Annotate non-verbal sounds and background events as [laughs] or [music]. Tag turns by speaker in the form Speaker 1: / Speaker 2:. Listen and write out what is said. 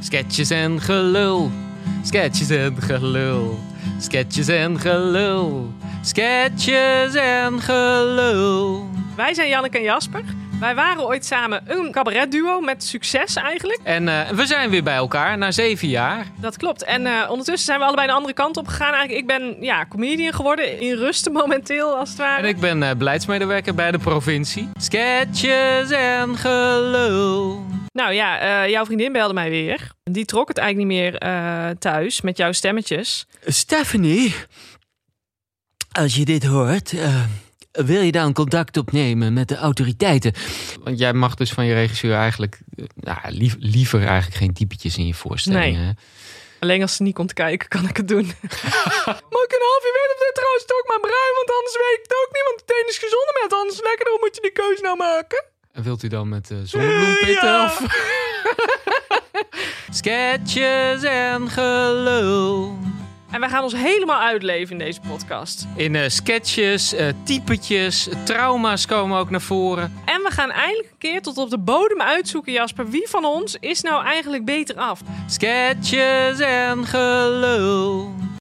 Speaker 1: Sketches en gelul. Sketches en gelul. Sketches en gelul. Sketches en gelul.
Speaker 2: Wij zijn Janneke en Jasper. Wij waren ooit samen een cabaretduo met succes eigenlijk.
Speaker 1: En eh, we zijn weer bij elkaar na zeven jaar.
Speaker 2: Dat klopt. En eh, ondertussen zijn we allebei de andere kant op gegaan. Eigenlijk, ik ben ja, comedian geworden, in rusten [laughs] momenteel als het ware.
Speaker 1: En ik ben eh, beleidsmedewerker bij de provincie. Sketches en gelul.
Speaker 2: Nou ja, eh, jouw vriendin belde mij weer. Die trok het eigenlijk niet meer eh, thuis met jouw stemmetjes.
Speaker 1: Stephanie, als je dit hoort, eh, wil je dan contact opnemen met de autoriteiten? Want jij mag dus van je regisseur eigenlijk eh, nou, lief- liever eigenlijk geen typetjes in je voorstellingen.
Speaker 2: Nee.
Speaker 1: hè?
Speaker 2: Alleen als ze niet komt kijken, kan ik het doen. [laughs] Mag ik een half uur weten of dit trouwens ook maar bruin? Want anders weet ik het ook niet. Want meteen is gezonder met anders lekker. Dan moet je die keuze nou maken.
Speaker 1: En wilt u dan met uh, zonnebloempitten
Speaker 2: Ja.
Speaker 1: of... [laughs] Sketches en gelul.
Speaker 2: En wij gaan ons helemaal uitleven in deze podcast.
Speaker 1: In eh, sketches, eh, typetjes, trauma's komen ook naar voren.
Speaker 2: En we gaan eindelijk een keer tot op de bodem uitzoeken, Jasper. Wie van ons is nou eigenlijk beter af?
Speaker 1: Sketches en gelul.